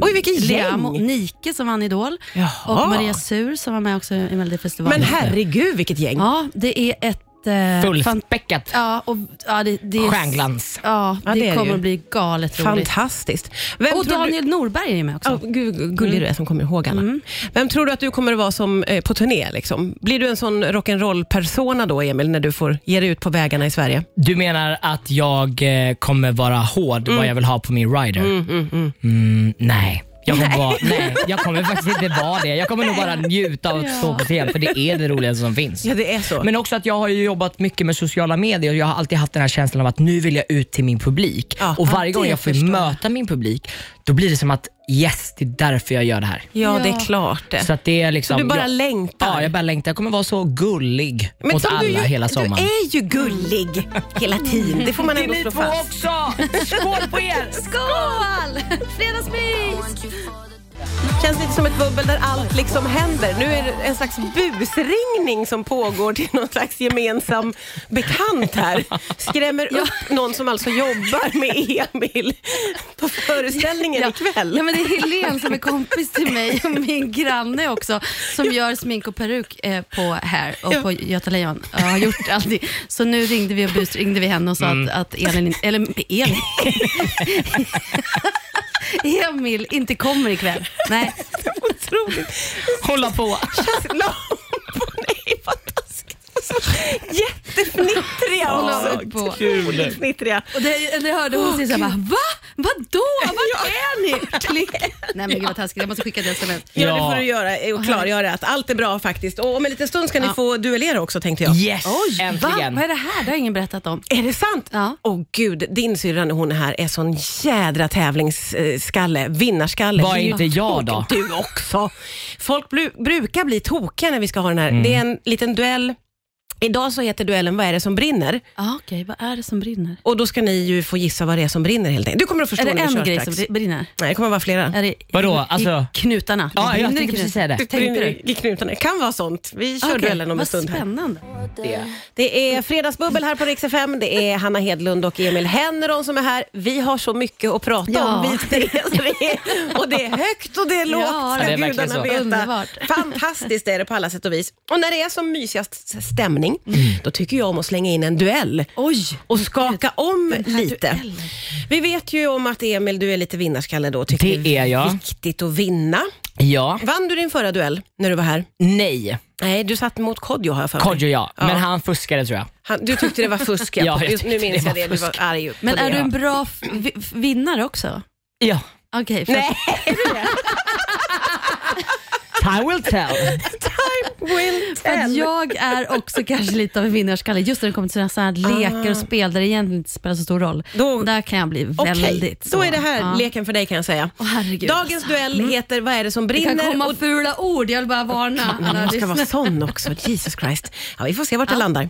[SPEAKER 2] Oj, vilket gäng.
[SPEAKER 4] Liamo, Nike som vann Idol
[SPEAKER 2] Jaha.
[SPEAKER 4] och Maria Sur som var med också i Melodifestivalen.
[SPEAKER 2] Men herregud vilket gäng.
[SPEAKER 4] Ja, det är ett... Eh, fan-
[SPEAKER 3] Fullspäckat.
[SPEAKER 4] ja, och, ja, det, det är,
[SPEAKER 3] Stjärnglans.
[SPEAKER 4] Ja, det,
[SPEAKER 2] Ja, det är det
[SPEAKER 4] kommer
[SPEAKER 2] ju.
[SPEAKER 4] att bli galet roligt.
[SPEAKER 2] Fantastiskt. Vem tror
[SPEAKER 4] Och
[SPEAKER 2] du-
[SPEAKER 4] Daniel Norberg är ju med också.
[SPEAKER 2] Ja, gud, gud, gullig du är som kommer ihåg Anna. Vem tror du att du kommer att vara som eh, på turné? Liksom? Blir du en sån rock'n'roll-persona då, Emil, när du får ge dig ut på vägarna i Sverige?
[SPEAKER 3] Du menar att jag eh, kommer vara hård vad jag vill ha på min rider?
[SPEAKER 2] Mm,
[SPEAKER 3] Mm, nej. Jag kommer, vara, nej, jag kommer faktiskt inte vara det. Jag kommer nog bara njuta av att stå på scen för det är det roligaste som finns.
[SPEAKER 2] Ja, det är så.
[SPEAKER 3] Men också att jag har ju jobbat mycket med sociala medier och jag har alltid haft den här känslan av att nu vill jag ut till min publik.
[SPEAKER 2] Ja,
[SPEAKER 3] och varje
[SPEAKER 4] ja,
[SPEAKER 3] gång
[SPEAKER 4] det
[SPEAKER 3] jag får
[SPEAKER 4] förstår jag.
[SPEAKER 3] möta min publik, då blir det som att yes, det är därför jag gör det här.
[SPEAKER 2] ja, det
[SPEAKER 4] Ja.
[SPEAKER 2] är klart det.
[SPEAKER 3] Så att det är liksom,
[SPEAKER 2] du bara
[SPEAKER 3] jag,
[SPEAKER 2] längtar.
[SPEAKER 3] Ja, jag bara längtar. Jag kommer vara så gullig
[SPEAKER 2] Men
[SPEAKER 3] mot
[SPEAKER 2] som
[SPEAKER 3] alla
[SPEAKER 2] du, ju-
[SPEAKER 3] hela
[SPEAKER 2] Du
[SPEAKER 3] sommaren.
[SPEAKER 2] är ju gullig hela tiden. Det får man ändå slå fast.
[SPEAKER 3] också! Skål på er!
[SPEAKER 4] Skål! Fredagsmys!
[SPEAKER 5] No
[SPEAKER 2] Känns lite som ett bubbel där allt liksom händer. Nu är det en slags busringning som pågår till någon slags gemensam bekant här. Skrämmer upp någon som alltså jobbar med Emil på föreställningen ikväll.
[SPEAKER 4] Ja, men det är Helene som är kompis till mig och min granne också som gör smink och peruk eh, på här och på Göta Lejon. Ja, har gjort alltid. Så nu ringde vi och busringde vi henne och sa att, att Elin, eller Elin, Emil inte kommer ikväll. Nej.
[SPEAKER 2] Otroligt.
[SPEAKER 3] Hålla på.
[SPEAKER 2] Lampor, nej vad taskigt. Jättefnittriga
[SPEAKER 4] Hålla
[SPEAKER 2] också.
[SPEAKER 4] på.
[SPEAKER 2] Otroligt Fnittriga.
[SPEAKER 4] Och det, det hörde hon oh, såhär, va? Vadå? Vart är ni? Klick. Nej men gud vad taskigt, jag måste skicka ett sms.
[SPEAKER 2] Ja, det
[SPEAKER 3] Ja.
[SPEAKER 2] får du göra eh, och klargöra att allt är bra faktiskt. Och om en liten stund ska ni
[SPEAKER 4] Ja.
[SPEAKER 2] få duellera också tänkte jag.
[SPEAKER 3] Yes,
[SPEAKER 4] Va?
[SPEAKER 3] äntligen.
[SPEAKER 4] Vad är det här? Det har ingen berättat om.
[SPEAKER 2] Är det sant?
[SPEAKER 4] Ja.
[SPEAKER 2] Åh gud, din syrra när hon är här är sån jädra tävlingsskalle, vinnarskalle.
[SPEAKER 3] Vad är
[SPEAKER 2] Det ju
[SPEAKER 3] inte jag då?
[SPEAKER 2] tokigt. Du också. Folk blu- brukar bli tokiga när vi ska ha den här.
[SPEAKER 4] Mm.
[SPEAKER 2] Det är en liten duell. Idag så heter duellen Vad är det som brinner?
[SPEAKER 4] Ja, Ah, okej, vad är det som brinner?
[SPEAKER 2] Och då ska ni ju få gissa vad det är som brinner helt enkelt. Du kommer att förstå
[SPEAKER 4] Är det
[SPEAKER 2] när vi kör
[SPEAKER 4] en grej
[SPEAKER 2] strax.
[SPEAKER 4] som Eh, br- brinner?
[SPEAKER 2] Nej, det kommer vara flera.
[SPEAKER 4] Är det
[SPEAKER 3] Vadå?
[SPEAKER 4] i-
[SPEAKER 3] Alltså-
[SPEAKER 4] I knutarna?
[SPEAKER 3] Ja,
[SPEAKER 4] Det
[SPEAKER 3] jag
[SPEAKER 4] brinner
[SPEAKER 3] tänkte
[SPEAKER 4] i
[SPEAKER 3] precis
[SPEAKER 4] knut-
[SPEAKER 3] säga det.
[SPEAKER 4] Tänkte du?
[SPEAKER 2] I knutarna. Det kan vara sånt. Vi kör
[SPEAKER 4] Okej,
[SPEAKER 2] duellen om en
[SPEAKER 4] vad
[SPEAKER 2] stund här.
[SPEAKER 4] spännande.
[SPEAKER 2] Det är fredagsbubbel här på Rix FM. Det är Hanna Hedlund och Emil Henneron som är här. Vi har så mycket att prata
[SPEAKER 4] Ja.
[SPEAKER 2] om, vi tre. så det är- Och det är högt och det är lågt,
[SPEAKER 4] Ja,
[SPEAKER 2] ska
[SPEAKER 4] det
[SPEAKER 3] är verkligen
[SPEAKER 2] gudarna
[SPEAKER 3] så.
[SPEAKER 2] veta.
[SPEAKER 4] Underbart.
[SPEAKER 2] Fantastiskt är det på alla sätt och vis. Och när det är som mysigast stämning, då tycker jag om att slänga in en duell.
[SPEAKER 4] Oj!
[SPEAKER 2] Och skaka om lite.
[SPEAKER 4] duellen.
[SPEAKER 2] Vi vet ju om att Emil, du är lite vinnarskalle då. Tycker
[SPEAKER 3] Det är jag.
[SPEAKER 2] viktigt att vinna.
[SPEAKER 3] Ja,
[SPEAKER 2] Vann du din förra duell när du var här?
[SPEAKER 3] nej.
[SPEAKER 2] Nej, du satt mot Kodjo har jag för mig.
[SPEAKER 3] Kodjo ja.
[SPEAKER 2] Ja.
[SPEAKER 3] Men han fuskade tror jag.
[SPEAKER 2] Han, du tyckte det var fusk, ja.
[SPEAKER 3] Ja, jag
[SPEAKER 2] Just, nu
[SPEAKER 3] tyckte
[SPEAKER 2] minns
[SPEAKER 3] det
[SPEAKER 2] jag
[SPEAKER 3] var
[SPEAKER 2] det. Du var
[SPEAKER 3] fusk.
[SPEAKER 2] arg på
[SPEAKER 4] Men
[SPEAKER 2] det.
[SPEAKER 4] är du en bra f- vi- f- vinnare också?
[SPEAKER 3] Ja.
[SPEAKER 4] Okej, för-
[SPEAKER 2] Nej,
[SPEAKER 3] Time will tell.
[SPEAKER 2] time will
[SPEAKER 4] För att
[SPEAKER 2] tell.
[SPEAKER 4] jag är också kanske lite av en vinnarskalle just när det kommer till såna här lekar och spel där det egentligen inte spelar så stor roll.
[SPEAKER 2] Ah. Då-
[SPEAKER 4] där kan jag bli
[SPEAKER 2] Okej,
[SPEAKER 4] väldigt...
[SPEAKER 2] då
[SPEAKER 4] så-
[SPEAKER 2] är det här
[SPEAKER 4] ja.
[SPEAKER 2] leken för dig kan jag säga.
[SPEAKER 4] Åh, herregud,
[SPEAKER 2] Dagens
[SPEAKER 4] alltså.
[SPEAKER 2] duell heter Vad är det som
[SPEAKER 4] Det kan
[SPEAKER 2] brinner?
[SPEAKER 4] komma
[SPEAKER 2] Och
[SPEAKER 4] fula ord, jag vill bara varna alla
[SPEAKER 2] man ska vara
[SPEAKER 4] lyssnare.
[SPEAKER 2] sån också, Jesus Christ. Ja, vi får se vart det landar.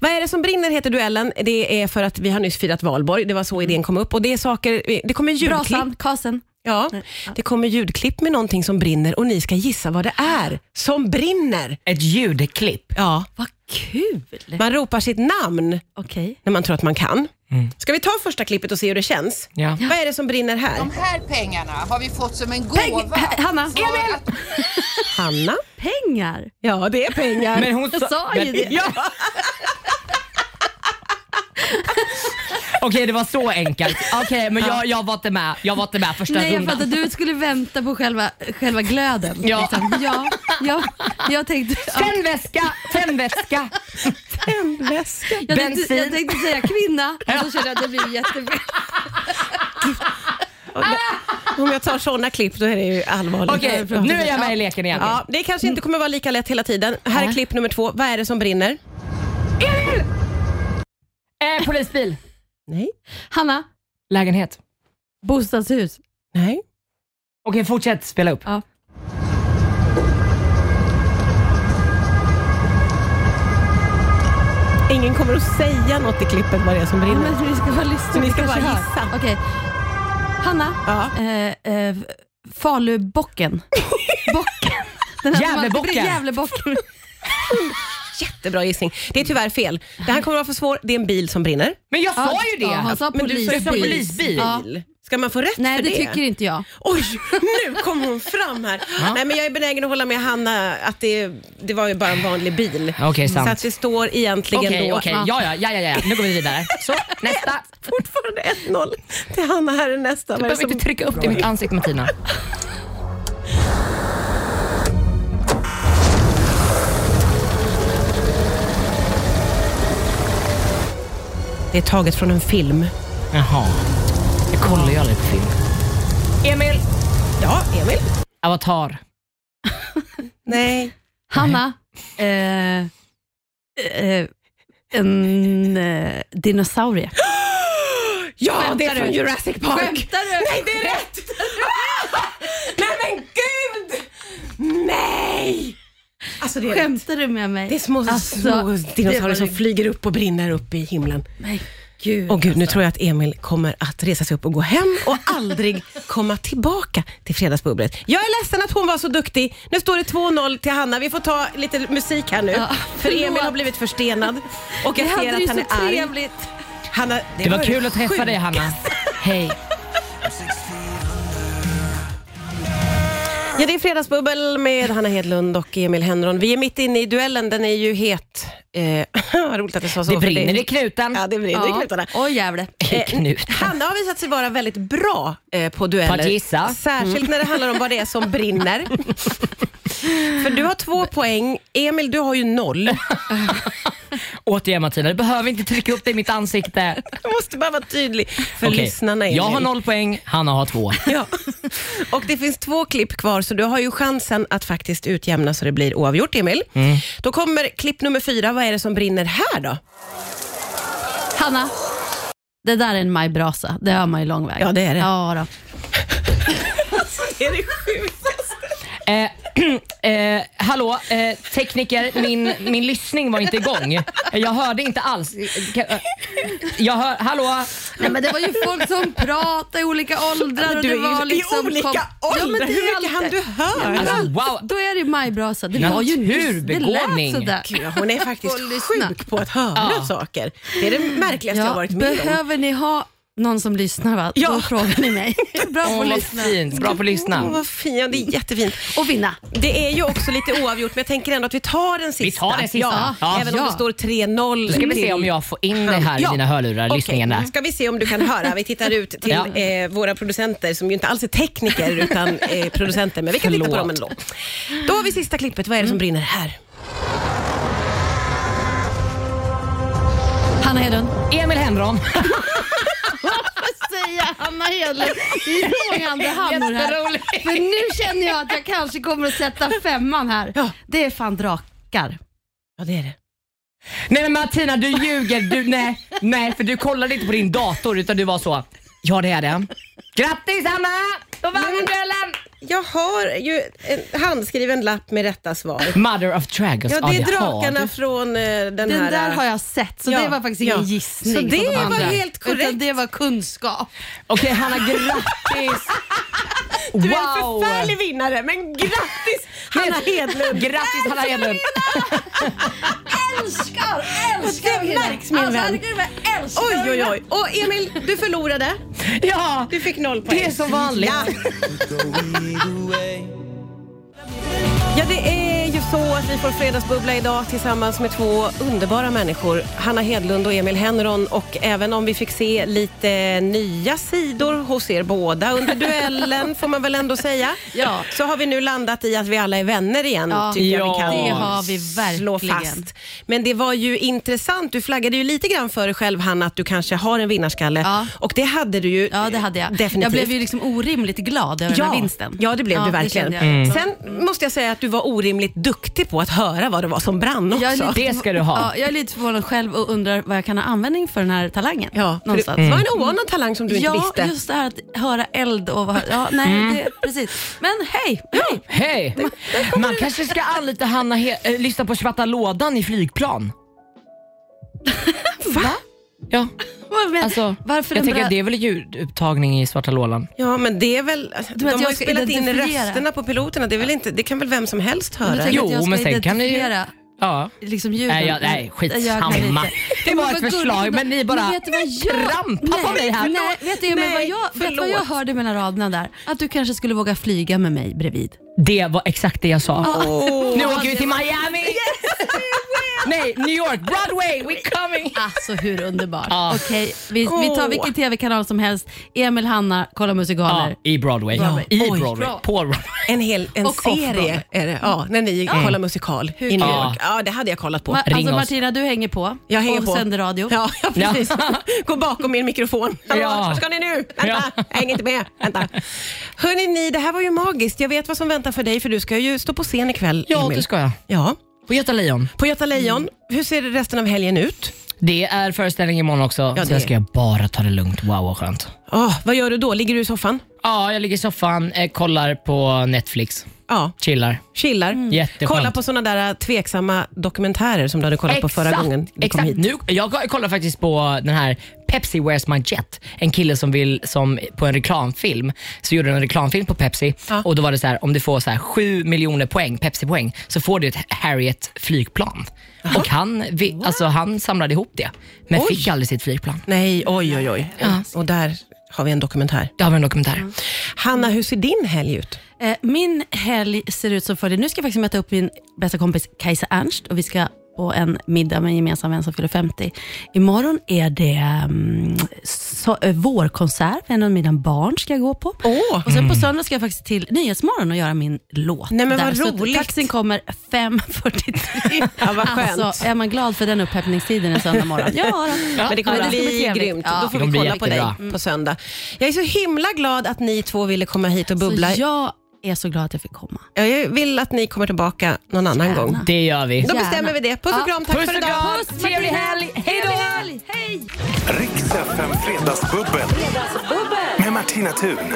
[SPEAKER 2] Vad är det som brinner heter duellen. Det är för att vi har nyss firat valborg. Det var så idén kom upp. Och det, är saker, det kommer ljudklipp.
[SPEAKER 4] Brasan, kasen.
[SPEAKER 2] Ja, det kommer ljudklipp med någonting som brinner och ni ska gissa vad det är som brinner.
[SPEAKER 3] Ett ljudklipp.
[SPEAKER 2] Ja,
[SPEAKER 4] Vad kul!
[SPEAKER 2] man ropar sitt namn
[SPEAKER 4] Okej.
[SPEAKER 2] när man tror att man kan.
[SPEAKER 3] Mm.
[SPEAKER 2] Ska vi ta första klippet och se hur det känns?
[SPEAKER 3] Ja.
[SPEAKER 2] Vad är det som brinner här?
[SPEAKER 5] De här pengarna har vi fått som en
[SPEAKER 4] Peng-
[SPEAKER 5] gåva.
[SPEAKER 4] H- Hanna,
[SPEAKER 5] För
[SPEAKER 4] Emil!
[SPEAKER 5] att
[SPEAKER 2] Hanna?
[SPEAKER 4] Pengar!
[SPEAKER 2] Ja, det är pengar.
[SPEAKER 3] Men hon
[SPEAKER 4] Jag sa ju
[SPEAKER 3] men-
[SPEAKER 4] det.
[SPEAKER 3] Ja. Okej, det var så enkelt. Okej, men jag, jag var inte med. Jag var inte med första
[SPEAKER 4] Nej, jag
[SPEAKER 3] rundan.
[SPEAKER 4] fattar. Du skulle vänta på själva, själva glöden.
[SPEAKER 3] Ja.
[SPEAKER 4] Liksom. Ja, ja, jag tänkte... Ja.
[SPEAKER 3] Tändväska, tändväska.
[SPEAKER 2] Väska.
[SPEAKER 4] Jag tänkte, jag
[SPEAKER 3] bensin.
[SPEAKER 4] tänkte säga kvinna, och så kände jag att det blir jättefel.
[SPEAKER 2] Om jag tar såna klipp då är det ju allvarligt.
[SPEAKER 3] Okej, nu är jag med i leken igen.
[SPEAKER 2] Ja, det kanske inte kommer vara lika lätt hela tiden. Här är klipp nummer två. Vad är det som brinner?
[SPEAKER 3] Eh, polisbil.
[SPEAKER 2] Nej.
[SPEAKER 4] Hanna,
[SPEAKER 3] Lägenhet.
[SPEAKER 4] bostadshus.
[SPEAKER 2] Nej.
[SPEAKER 3] Okej, fortsätt spela upp.
[SPEAKER 4] Ja.
[SPEAKER 2] Ingen kommer att säga något i klippet vad det är som brinner.
[SPEAKER 4] Men vi ska bara lyssna.
[SPEAKER 2] Ni ska bara
[SPEAKER 4] kanske
[SPEAKER 2] gissa.
[SPEAKER 4] hör. Okej. Hanna,
[SPEAKER 2] Ja.
[SPEAKER 4] eh, eh, Falubocken. Bocken. Den här som alltid blir-
[SPEAKER 3] Gävlebocken.
[SPEAKER 4] Gävlebocken.
[SPEAKER 2] Jättebra gissning. Det är tyvärr fel. Det här kommer att vara för svårt. Det är en bil som brinner.
[SPEAKER 3] Men jag sa
[SPEAKER 4] Ja,
[SPEAKER 3] ju det.
[SPEAKER 4] ja, han sa
[SPEAKER 3] men du
[SPEAKER 4] polisbil.
[SPEAKER 3] sa polisbil.
[SPEAKER 4] Ja.
[SPEAKER 2] Ska man få rätt
[SPEAKER 4] Nej,
[SPEAKER 2] för
[SPEAKER 4] det
[SPEAKER 2] det?
[SPEAKER 4] tycker inte jag.
[SPEAKER 2] Oj, nu kom hon fram här. Nej, men jag är benägen att hålla med Hanna att det, det var ju bara en vanlig bil.
[SPEAKER 3] Okej, sant.
[SPEAKER 2] Så att det står egentligen
[SPEAKER 3] Okej, okej.
[SPEAKER 2] då
[SPEAKER 3] Ja, ja, ja, ja, ja. Nu går vi vidare. Så, nästa.
[SPEAKER 2] fortfarande 1-0 till Hanna. Här är nästa.
[SPEAKER 3] Du behöver inte trycka upp det i mitt ansikte Martina.
[SPEAKER 2] Det är taget från en film.
[SPEAKER 3] Jaha. Jag kollar ju aldrig på film. Emil.
[SPEAKER 2] Ja, Emil?
[SPEAKER 3] Avatar.
[SPEAKER 2] Nej.
[SPEAKER 4] Hanna, eh, eh, en eh, dinosaurie.
[SPEAKER 2] Ja, det är
[SPEAKER 4] Skämtar
[SPEAKER 2] från
[SPEAKER 4] du?
[SPEAKER 2] Jurassic Park.
[SPEAKER 4] Skämtar du?
[SPEAKER 2] Nej, det är rätt! Ah! Nej, men gud! Nej! Alltså, det är rätt.
[SPEAKER 4] Skämtar du med mig?
[SPEAKER 2] Det är små,
[SPEAKER 4] Alltså,
[SPEAKER 2] små
[SPEAKER 4] det
[SPEAKER 2] dinosaurier
[SPEAKER 4] var-
[SPEAKER 2] som flyger upp och brinner upp i himlen.
[SPEAKER 4] Nej, Gud,
[SPEAKER 2] Och gud, nu tror jag att Emil kommer att resa sig upp och gå hem och aldrig komma tillbaka till Fredagsbubblet. Jag är ledsen att hon var så duktig. Nu står det 2-0 till Hanna. Vi får ta lite musik här nu.
[SPEAKER 4] Ja,
[SPEAKER 2] för
[SPEAKER 4] förlåt.
[SPEAKER 2] Emil har blivit förstenad och jag
[SPEAKER 4] Vi hade
[SPEAKER 2] ser
[SPEAKER 4] ju
[SPEAKER 2] att han
[SPEAKER 4] så
[SPEAKER 2] är arg.
[SPEAKER 4] trevligt.
[SPEAKER 2] Hanna, det,
[SPEAKER 3] Det var
[SPEAKER 2] det
[SPEAKER 3] kul att träffa dig Hanna. Hej.
[SPEAKER 2] Ja, det är Fredagsbubbel med Hanna Hedlund och Emil Henron. Vi är mitt inne i duellen, den är ju het. Eh, vad roligt att jag sa så.
[SPEAKER 3] Det
[SPEAKER 2] för
[SPEAKER 3] brinner i knuten. Eh,
[SPEAKER 2] Ja, det brinner i knutarna.
[SPEAKER 4] Åh jävlar.
[SPEAKER 3] I knuten.
[SPEAKER 2] Eh, Hanna har visat sig vara väldigt bra eh, på dueller.
[SPEAKER 3] På att gissa.
[SPEAKER 2] Särskilt när det handlar om vad det är som brinner. För du har två poäng, Emil du har ju noll.
[SPEAKER 3] Återigen Martina, du behöver inte trycka upp det i mitt ansikte.
[SPEAKER 2] Jag måste bara vara tydlig för
[SPEAKER 3] Okej.
[SPEAKER 2] lyssnarna Emil.
[SPEAKER 3] Jag har noll poäng, Hanna har två.
[SPEAKER 2] Ja. Och det finns två klipp kvar, så du har ju chansen att faktiskt utjämna så det blir oavgjort, Emil. Då kommer klipp nummer fyra. Vad är det som brinner här då?
[SPEAKER 4] Hanna, det där är en majbrasa. Det hör man ju lång väg.
[SPEAKER 2] Ja, det är det.
[SPEAKER 4] Ja, då.
[SPEAKER 2] Det är det sjukaste.
[SPEAKER 3] Eh, eh, hallå, eh, tekniker, min, min lyssning var inte igång. Eh, Jag hörde inte alls. Kan- eh, Jag hör, hallå?
[SPEAKER 4] Nej, men det var ju folk som pratade i olika åldrar. Och
[SPEAKER 2] Du är ju-
[SPEAKER 4] det var
[SPEAKER 2] i
[SPEAKER 4] liksom
[SPEAKER 2] olika
[SPEAKER 4] Ja, men
[SPEAKER 2] åldrar.
[SPEAKER 4] det
[SPEAKER 2] Hur
[SPEAKER 4] är Alltså,
[SPEAKER 2] mycket
[SPEAKER 4] allt
[SPEAKER 2] hann
[SPEAKER 4] det.
[SPEAKER 2] du höra?
[SPEAKER 4] Ja, men allt.
[SPEAKER 3] Wow.
[SPEAKER 4] Då är det majbrasa. Det var ju nyss. Det lät
[SPEAKER 3] Naturbegåvning.
[SPEAKER 4] sådär.
[SPEAKER 2] Gud, hon är faktiskt
[SPEAKER 4] Och lyssna.
[SPEAKER 2] sjuk på att höra saker. Det är det märkligaste jag har
[SPEAKER 4] Ja,
[SPEAKER 2] varit med om.
[SPEAKER 4] behöver ni ha någon som lyssnar, va?
[SPEAKER 2] Ja.
[SPEAKER 4] då frågar ni mig. Bra på
[SPEAKER 3] Åh,
[SPEAKER 4] att
[SPEAKER 3] vad
[SPEAKER 4] lyssna.
[SPEAKER 3] fint, bra på att
[SPEAKER 2] Åh,
[SPEAKER 3] lyssna.
[SPEAKER 2] vad fint, ja, det är jättefint.
[SPEAKER 4] Och vinna.
[SPEAKER 2] Det är ju också lite oavgjort, men jag tänker ändå att vi tar den sista.
[SPEAKER 3] Vi tar den sista.
[SPEAKER 2] Ja,
[SPEAKER 3] Ja.
[SPEAKER 2] Även om
[SPEAKER 4] Ja.
[SPEAKER 2] det står 3-0.
[SPEAKER 3] Då ska vi se
[SPEAKER 2] till-
[SPEAKER 3] om jag får in det här i dina hörlurar,
[SPEAKER 2] Okej, Mm.
[SPEAKER 3] lyssningen där.
[SPEAKER 2] ska vi se om du kan höra. Vi tittar ut till
[SPEAKER 3] Ja.
[SPEAKER 2] eh, våra producenter som ju inte alls är tekniker utan eh, producenter, men vi kan titta på dem ändå. Då har vi sista klippet. Vad är det
[SPEAKER 3] Mm.
[SPEAKER 2] som brinner här?
[SPEAKER 4] Hanna Hedlund.
[SPEAKER 3] Emil Henron.
[SPEAKER 4] säga Hanna Hedlund i så många andra hannor här.
[SPEAKER 3] Jätteroligt.
[SPEAKER 4] För nu känner jag att jag kanske kommer att sätta femman här.
[SPEAKER 2] Ja.
[SPEAKER 4] Det är fan drakar.
[SPEAKER 2] Ja, det är det.
[SPEAKER 3] Nej men Martina du ljuger, du, nej, nej för du kollade inte på din dator utan du var så, ja det är det. Grattis Hanna! Då vann
[SPEAKER 4] Mm.
[SPEAKER 3] du duellen!
[SPEAKER 2] Jag har ju en handskriven lapp med rätta svar.
[SPEAKER 3] Mother of Dragons,
[SPEAKER 2] Ja, det är
[SPEAKER 3] har
[SPEAKER 2] drakarna
[SPEAKER 3] du.
[SPEAKER 2] från eh, den,
[SPEAKER 4] Den
[SPEAKER 2] här...
[SPEAKER 4] där
[SPEAKER 2] eh,
[SPEAKER 4] har jag sett, så
[SPEAKER 2] Ja,
[SPEAKER 4] det var faktiskt ingen
[SPEAKER 2] ja.
[SPEAKER 4] gissning.
[SPEAKER 2] Så det
[SPEAKER 4] som de
[SPEAKER 2] var
[SPEAKER 4] andra.
[SPEAKER 2] helt korrekt.
[SPEAKER 4] Utan det var kunskap.
[SPEAKER 3] Okej Hanna grattis!
[SPEAKER 2] Du är en förfärlig vinnare, men grattis Hanna Hedlund!
[SPEAKER 3] Grattis Hanna Hedlund!
[SPEAKER 4] Älskar,
[SPEAKER 2] älskar Det hela. märks, min Alltså, vän. herregud,
[SPEAKER 4] älskar
[SPEAKER 2] Oj, oj, oj. Och Emil, du förlorade.
[SPEAKER 3] Ja,
[SPEAKER 2] Du fick noll poäng.
[SPEAKER 3] det är som vanligt.
[SPEAKER 2] Ja. Ja, det är ju så att vi får fredagsbubbla idag tillsammans med två underbara människor. Hanna Hedlund och Emil Henron. Och även om vi fick se lite nya sidor hos er båda under duellen, får man väl ändå säga,
[SPEAKER 4] Ja.
[SPEAKER 2] så har vi nu landat i att vi alla är vänner igen,
[SPEAKER 4] Ja,
[SPEAKER 2] tycker jag vi kan
[SPEAKER 4] det har vi
[SPEAKER 2] slå
[SPEAKER 4] verkligen.
[SPEAKER 2] fast. Men det var ju intressant. Du flaggade ju lite grann för dig själv, Hanna, att du kanske har en vinnarskalle.
[SPEAKER 4] Ja.
[SPEAKER 2] Och det hade du ju
[SPEAKER 4] Ja, det hade jag.
[SPEAKER 2] definitivt.
[SPEAKER 4] Jag blev ju liksom orimligt glad över den här vinsten.
[SPEAKER 2] Ja, det blev du verkligen. Mm.
[SPEAKER 4] kände jag.
[SPEAKER 2] Sen måste jag säga att du var orimligt duktig på att höra vad det var som brann också.
[SPEAKER 4] Jag är lite
[SPEAKER 3] Det ska du ha.
[SPEAKER 4] Ja, jag är lite förvånad själv och undrar vad jag kan ha användning för den här talangen.
[SPEAKER 2] Ja, för
[SPEAKER 4] någonstans.
[SPEAKER 2] Det var en oanad talang som du inte
[SPEAKER 4] ja,
[SPEAKER 2] visste.
[SPEAKER 4] just det här att höra eld och vad- ja, nej,
[SPEAKER 3] Mm.
[SPEAKER 4] det, precis. Men hej! hej.
[SPEAKER 3] Hej! Man kanske ska anlita Hanna He- eh, lyssna på Svarta lådan i flygplan.
[SPEAKER 4] Va?
[SPEAKER 3] Ja,
[SPEAKER 4] Vad men,
[SPEAKER 3] alltså,
[SPEAKER 4] varför
[SPEAKER 3] jag
[SPEAKER 4] den
[SPEAKER 3] tänker
[SPEAKER 4] bra-
[SPEAKER 3] att det är väl ljudupptagning i Svarta lådan.
[SPEAKER 2] Ja, men det är väl... alltså, De har
[SPEAKER 4] menar att jag
[SPEAKER 2] ju
[SPEAKER 4] ska
[SPEAKER 2] spelat in
[SPEAKER 4] identifiera?
[SPEAKER 2] rösterna på piloterna. Det, är väl inte, det kan väl vem som helst
[SPEAKER 4] Du
[SPEAKER 2] höra?
[SPEAKER 4] tänker
[SPEAKER 3] Jo,
[SPEAKER 4] att jag ska
[SPEAKER 3] men sen kan det ju-
[SPEAKER 4] identifiera
[SPEAKER 3] Ja.
[SPEAKER 4] Liksom ljuden.
[SPEAKER 3] Nej, jag, nej
[SPEAKER 4] Jag kan inte.
[SPEAKER 3] skitsamma. Det var
[SPEAKER 4] Men
[SPEAKER 3] ett
[SPEAKER 4] vad
[SPEAKER 3] förslag
[SPEAKER 4] gulligt.
[SPEAKER 3] men ni bara
[SPEAKER 4] Men vet du vad jag-
[SPEAKER 3] trampar på mig här.
[SPEAKER 4] Nej, vet du men vad
[SPEAKER 2] Nej,
[SPEAKER 4] jag, vet du vad jag
[SPEAKER 2] förlåt.
[SPEAKER 4] hörde mellan raderna där? Att du kanske skulle våga flyga med mig bredvid.
[SPEAKER 3] Det var exakt det jag sa. Nu åker vi till Miami! Nej, New York, Broadway, we coming!
[SPEAKER 4] Alltså hur underbart.
[SPEAKER 3] Ja.
[SPEAKER 4] Okej, vi, vi tar vilken tv-kanal som helst. Emil, Hanna, kolla musikaler.
[SPEAKER 3] Ja, I Broadway.
[SPEAKER 4] Broadway.
[SPEAKER 3] I
[SPEAKER 2] Oj.
[SPEAKER 3] Broadway. På Broadway.
[SPEAKER 2] En hel en
[SPEAKER 4] Och
[SPEAKER 2] serie
[SPEAKER 4] off-Broadway.
[SPEAKER 2] är det. Ja, när ni kollar musikal i New
[SPEAKER 3] Ja.
[SPEAKER 2] York. Ja, det hade jag kollat på.
[SPEAKER 4] Ma-
[SPEAKER 3] Ring
[SPEAKER 4] alltså
[SPEAKER 3] oss.
[SPEAKER 4] Martina, du hänger på
[SPEAKER 2] Jag hänger
[SPEAKER 4] och
[SPEAKER 2] på.
[SPEAKER 4] sänder radio.
[SPEAKER 2] Ja, ja precis. Gå bakom min mikrofon. Hallå,
[SPEAKER 3] Ja.
[SPEAKER 2] vart ska ni nu? Vänta,
[SPEAKER 3] Ja.
[SPEAKER 2] jag hänger inte med. Vänta. Hörrni, ni, det här var ju magiskt. Jag vet vad som väntar för dig, för du ska ju stå på scen ikväll,
[SPEAKER 3] Ja,
[SPEAKER 2] Emil.
[SPEAKER 3] det ska jag.
[SPEAKER 2] Ja.
[SPEAKER 3] På Göta Lejon.
[SPEAKER 2] På Göta Lejon, hur ser resten av helgen ut?
[SPEAKER 3] Det är föreställning imorgon också.
[SPEAKER 2] det är-
[SPEAKER 3] Sen ska jag bara ta det lugnt. Wow, vad skönt.
[SPEAKER 2] Oh, vad gör du då? Ligger du i soffan?
[SPEAKER 3] Ja, jag ligger i soffan, eh, kollar på Netflix.
[SPEAKER 2] Ja,
[SPEAKER 3] Chillar.
[SPEAKER 2] chillar.
[SPEAKER 3] Jätteskönt.
[SPEAKER 2] Kolla på såna där äh, tveksamma dokumentärer som du hade kollat på förra gången du kom
[SPEAKER 3] Exakt.
[SPEAKER 2] hit.
[SPEAKER 3] Nu, jag kollar faktiskt på den här Pepsi Where's My Jet. En kille som vill, som på en reklamfilm, så gjorde en reklamfilm på Pepsi
[SPEAKER 2] Ja.
[SPEAKER 3] och då var det så här, om du får så här 7 miljoner poäng, Pepsi-poäng, så får du ett Harriet flygplan. Och han, vi, alltså, han samlade ihop det, men fick aldrig sitt flygplan.
[SPEAKER 2] Nej, oj, oj, oj. Och där har vi en dokumentär.
[SPEAKER 3] Det har vi en dokumentär.
[SPEAKER 2] Hanna, hur ser din helg ut?
[SPEAKER 4] Eh, Min helg ser ut som följer. Nu ska jag faktiskt möta upp min bästa kompis Kajsa Ernst och vi ska på en middag med en gemensam vän som fyller 50. Imorgon är det um, so- eh, vårkonsert med en av mina barn ska jag gå på.
[SPEAKER 2] Åh. Mm.
[SPEAKER 4] Och sen på söndag ska jag faktiskt till Nyhetsmorgon och göra min låt.
[SPEAKER 2] Nej, men vad
[SPEAKER 4] Så att
[SPEAKER 2] roligt.
[SPEAKER 4] Taxin kommer 5.43.
[SPEAKER 2] Ja, vad skönt.
[SPEAKER 4] alltså, är man glad för den uppheppningstiden en söndag morgon? Ja, då.
[SPEAKER 2] Men det kommer
[SPEAKER 4] Ja, det ska bli
[SPEAKER 2] bli
[SPEAKER 4] trevligt.
[SPEAKER 2] grymt.
[SPEAKER 4] Ja. Mm.
[SPEAKER 2] Då får
[SPEAKER 3] Det
[SPEAKER 2] vi
[SPEAKER 3] kommer bli
[SPEAKER 2] kolla på dig
[SPEAKER 3] jättebra.
[SPEAKER 2] på söndag. Jag är så himla glad att ni två ville komma hit och bubbla.
[SPEAKER 4] Så jag är så glad att jag fick komma.
[SPEAKER 2] Jag vill att ni kommer tillbaka någon annan gång.
[SPEAKER 3] Det gör vi.
[SPEAKER 2] Då
[SPEAKER 4] Gärna.
[SPEAKER 2] bestämmer vi det. Puss och
[SPEAKER 4] Ja.
[SPEAKER 2] kram, tack
[SPEAKER 3] Puss
[SPEAKER 2] för
[SPEAKER 3] och
[SPEAKER 2] idag.
[SPEAKER 3] kram.
[SPEAKER 4] Trevlig helg! Hej då! Hej!
[SPEAKER 1] Riks FM Fredagsbubbel. Med Martina Thun.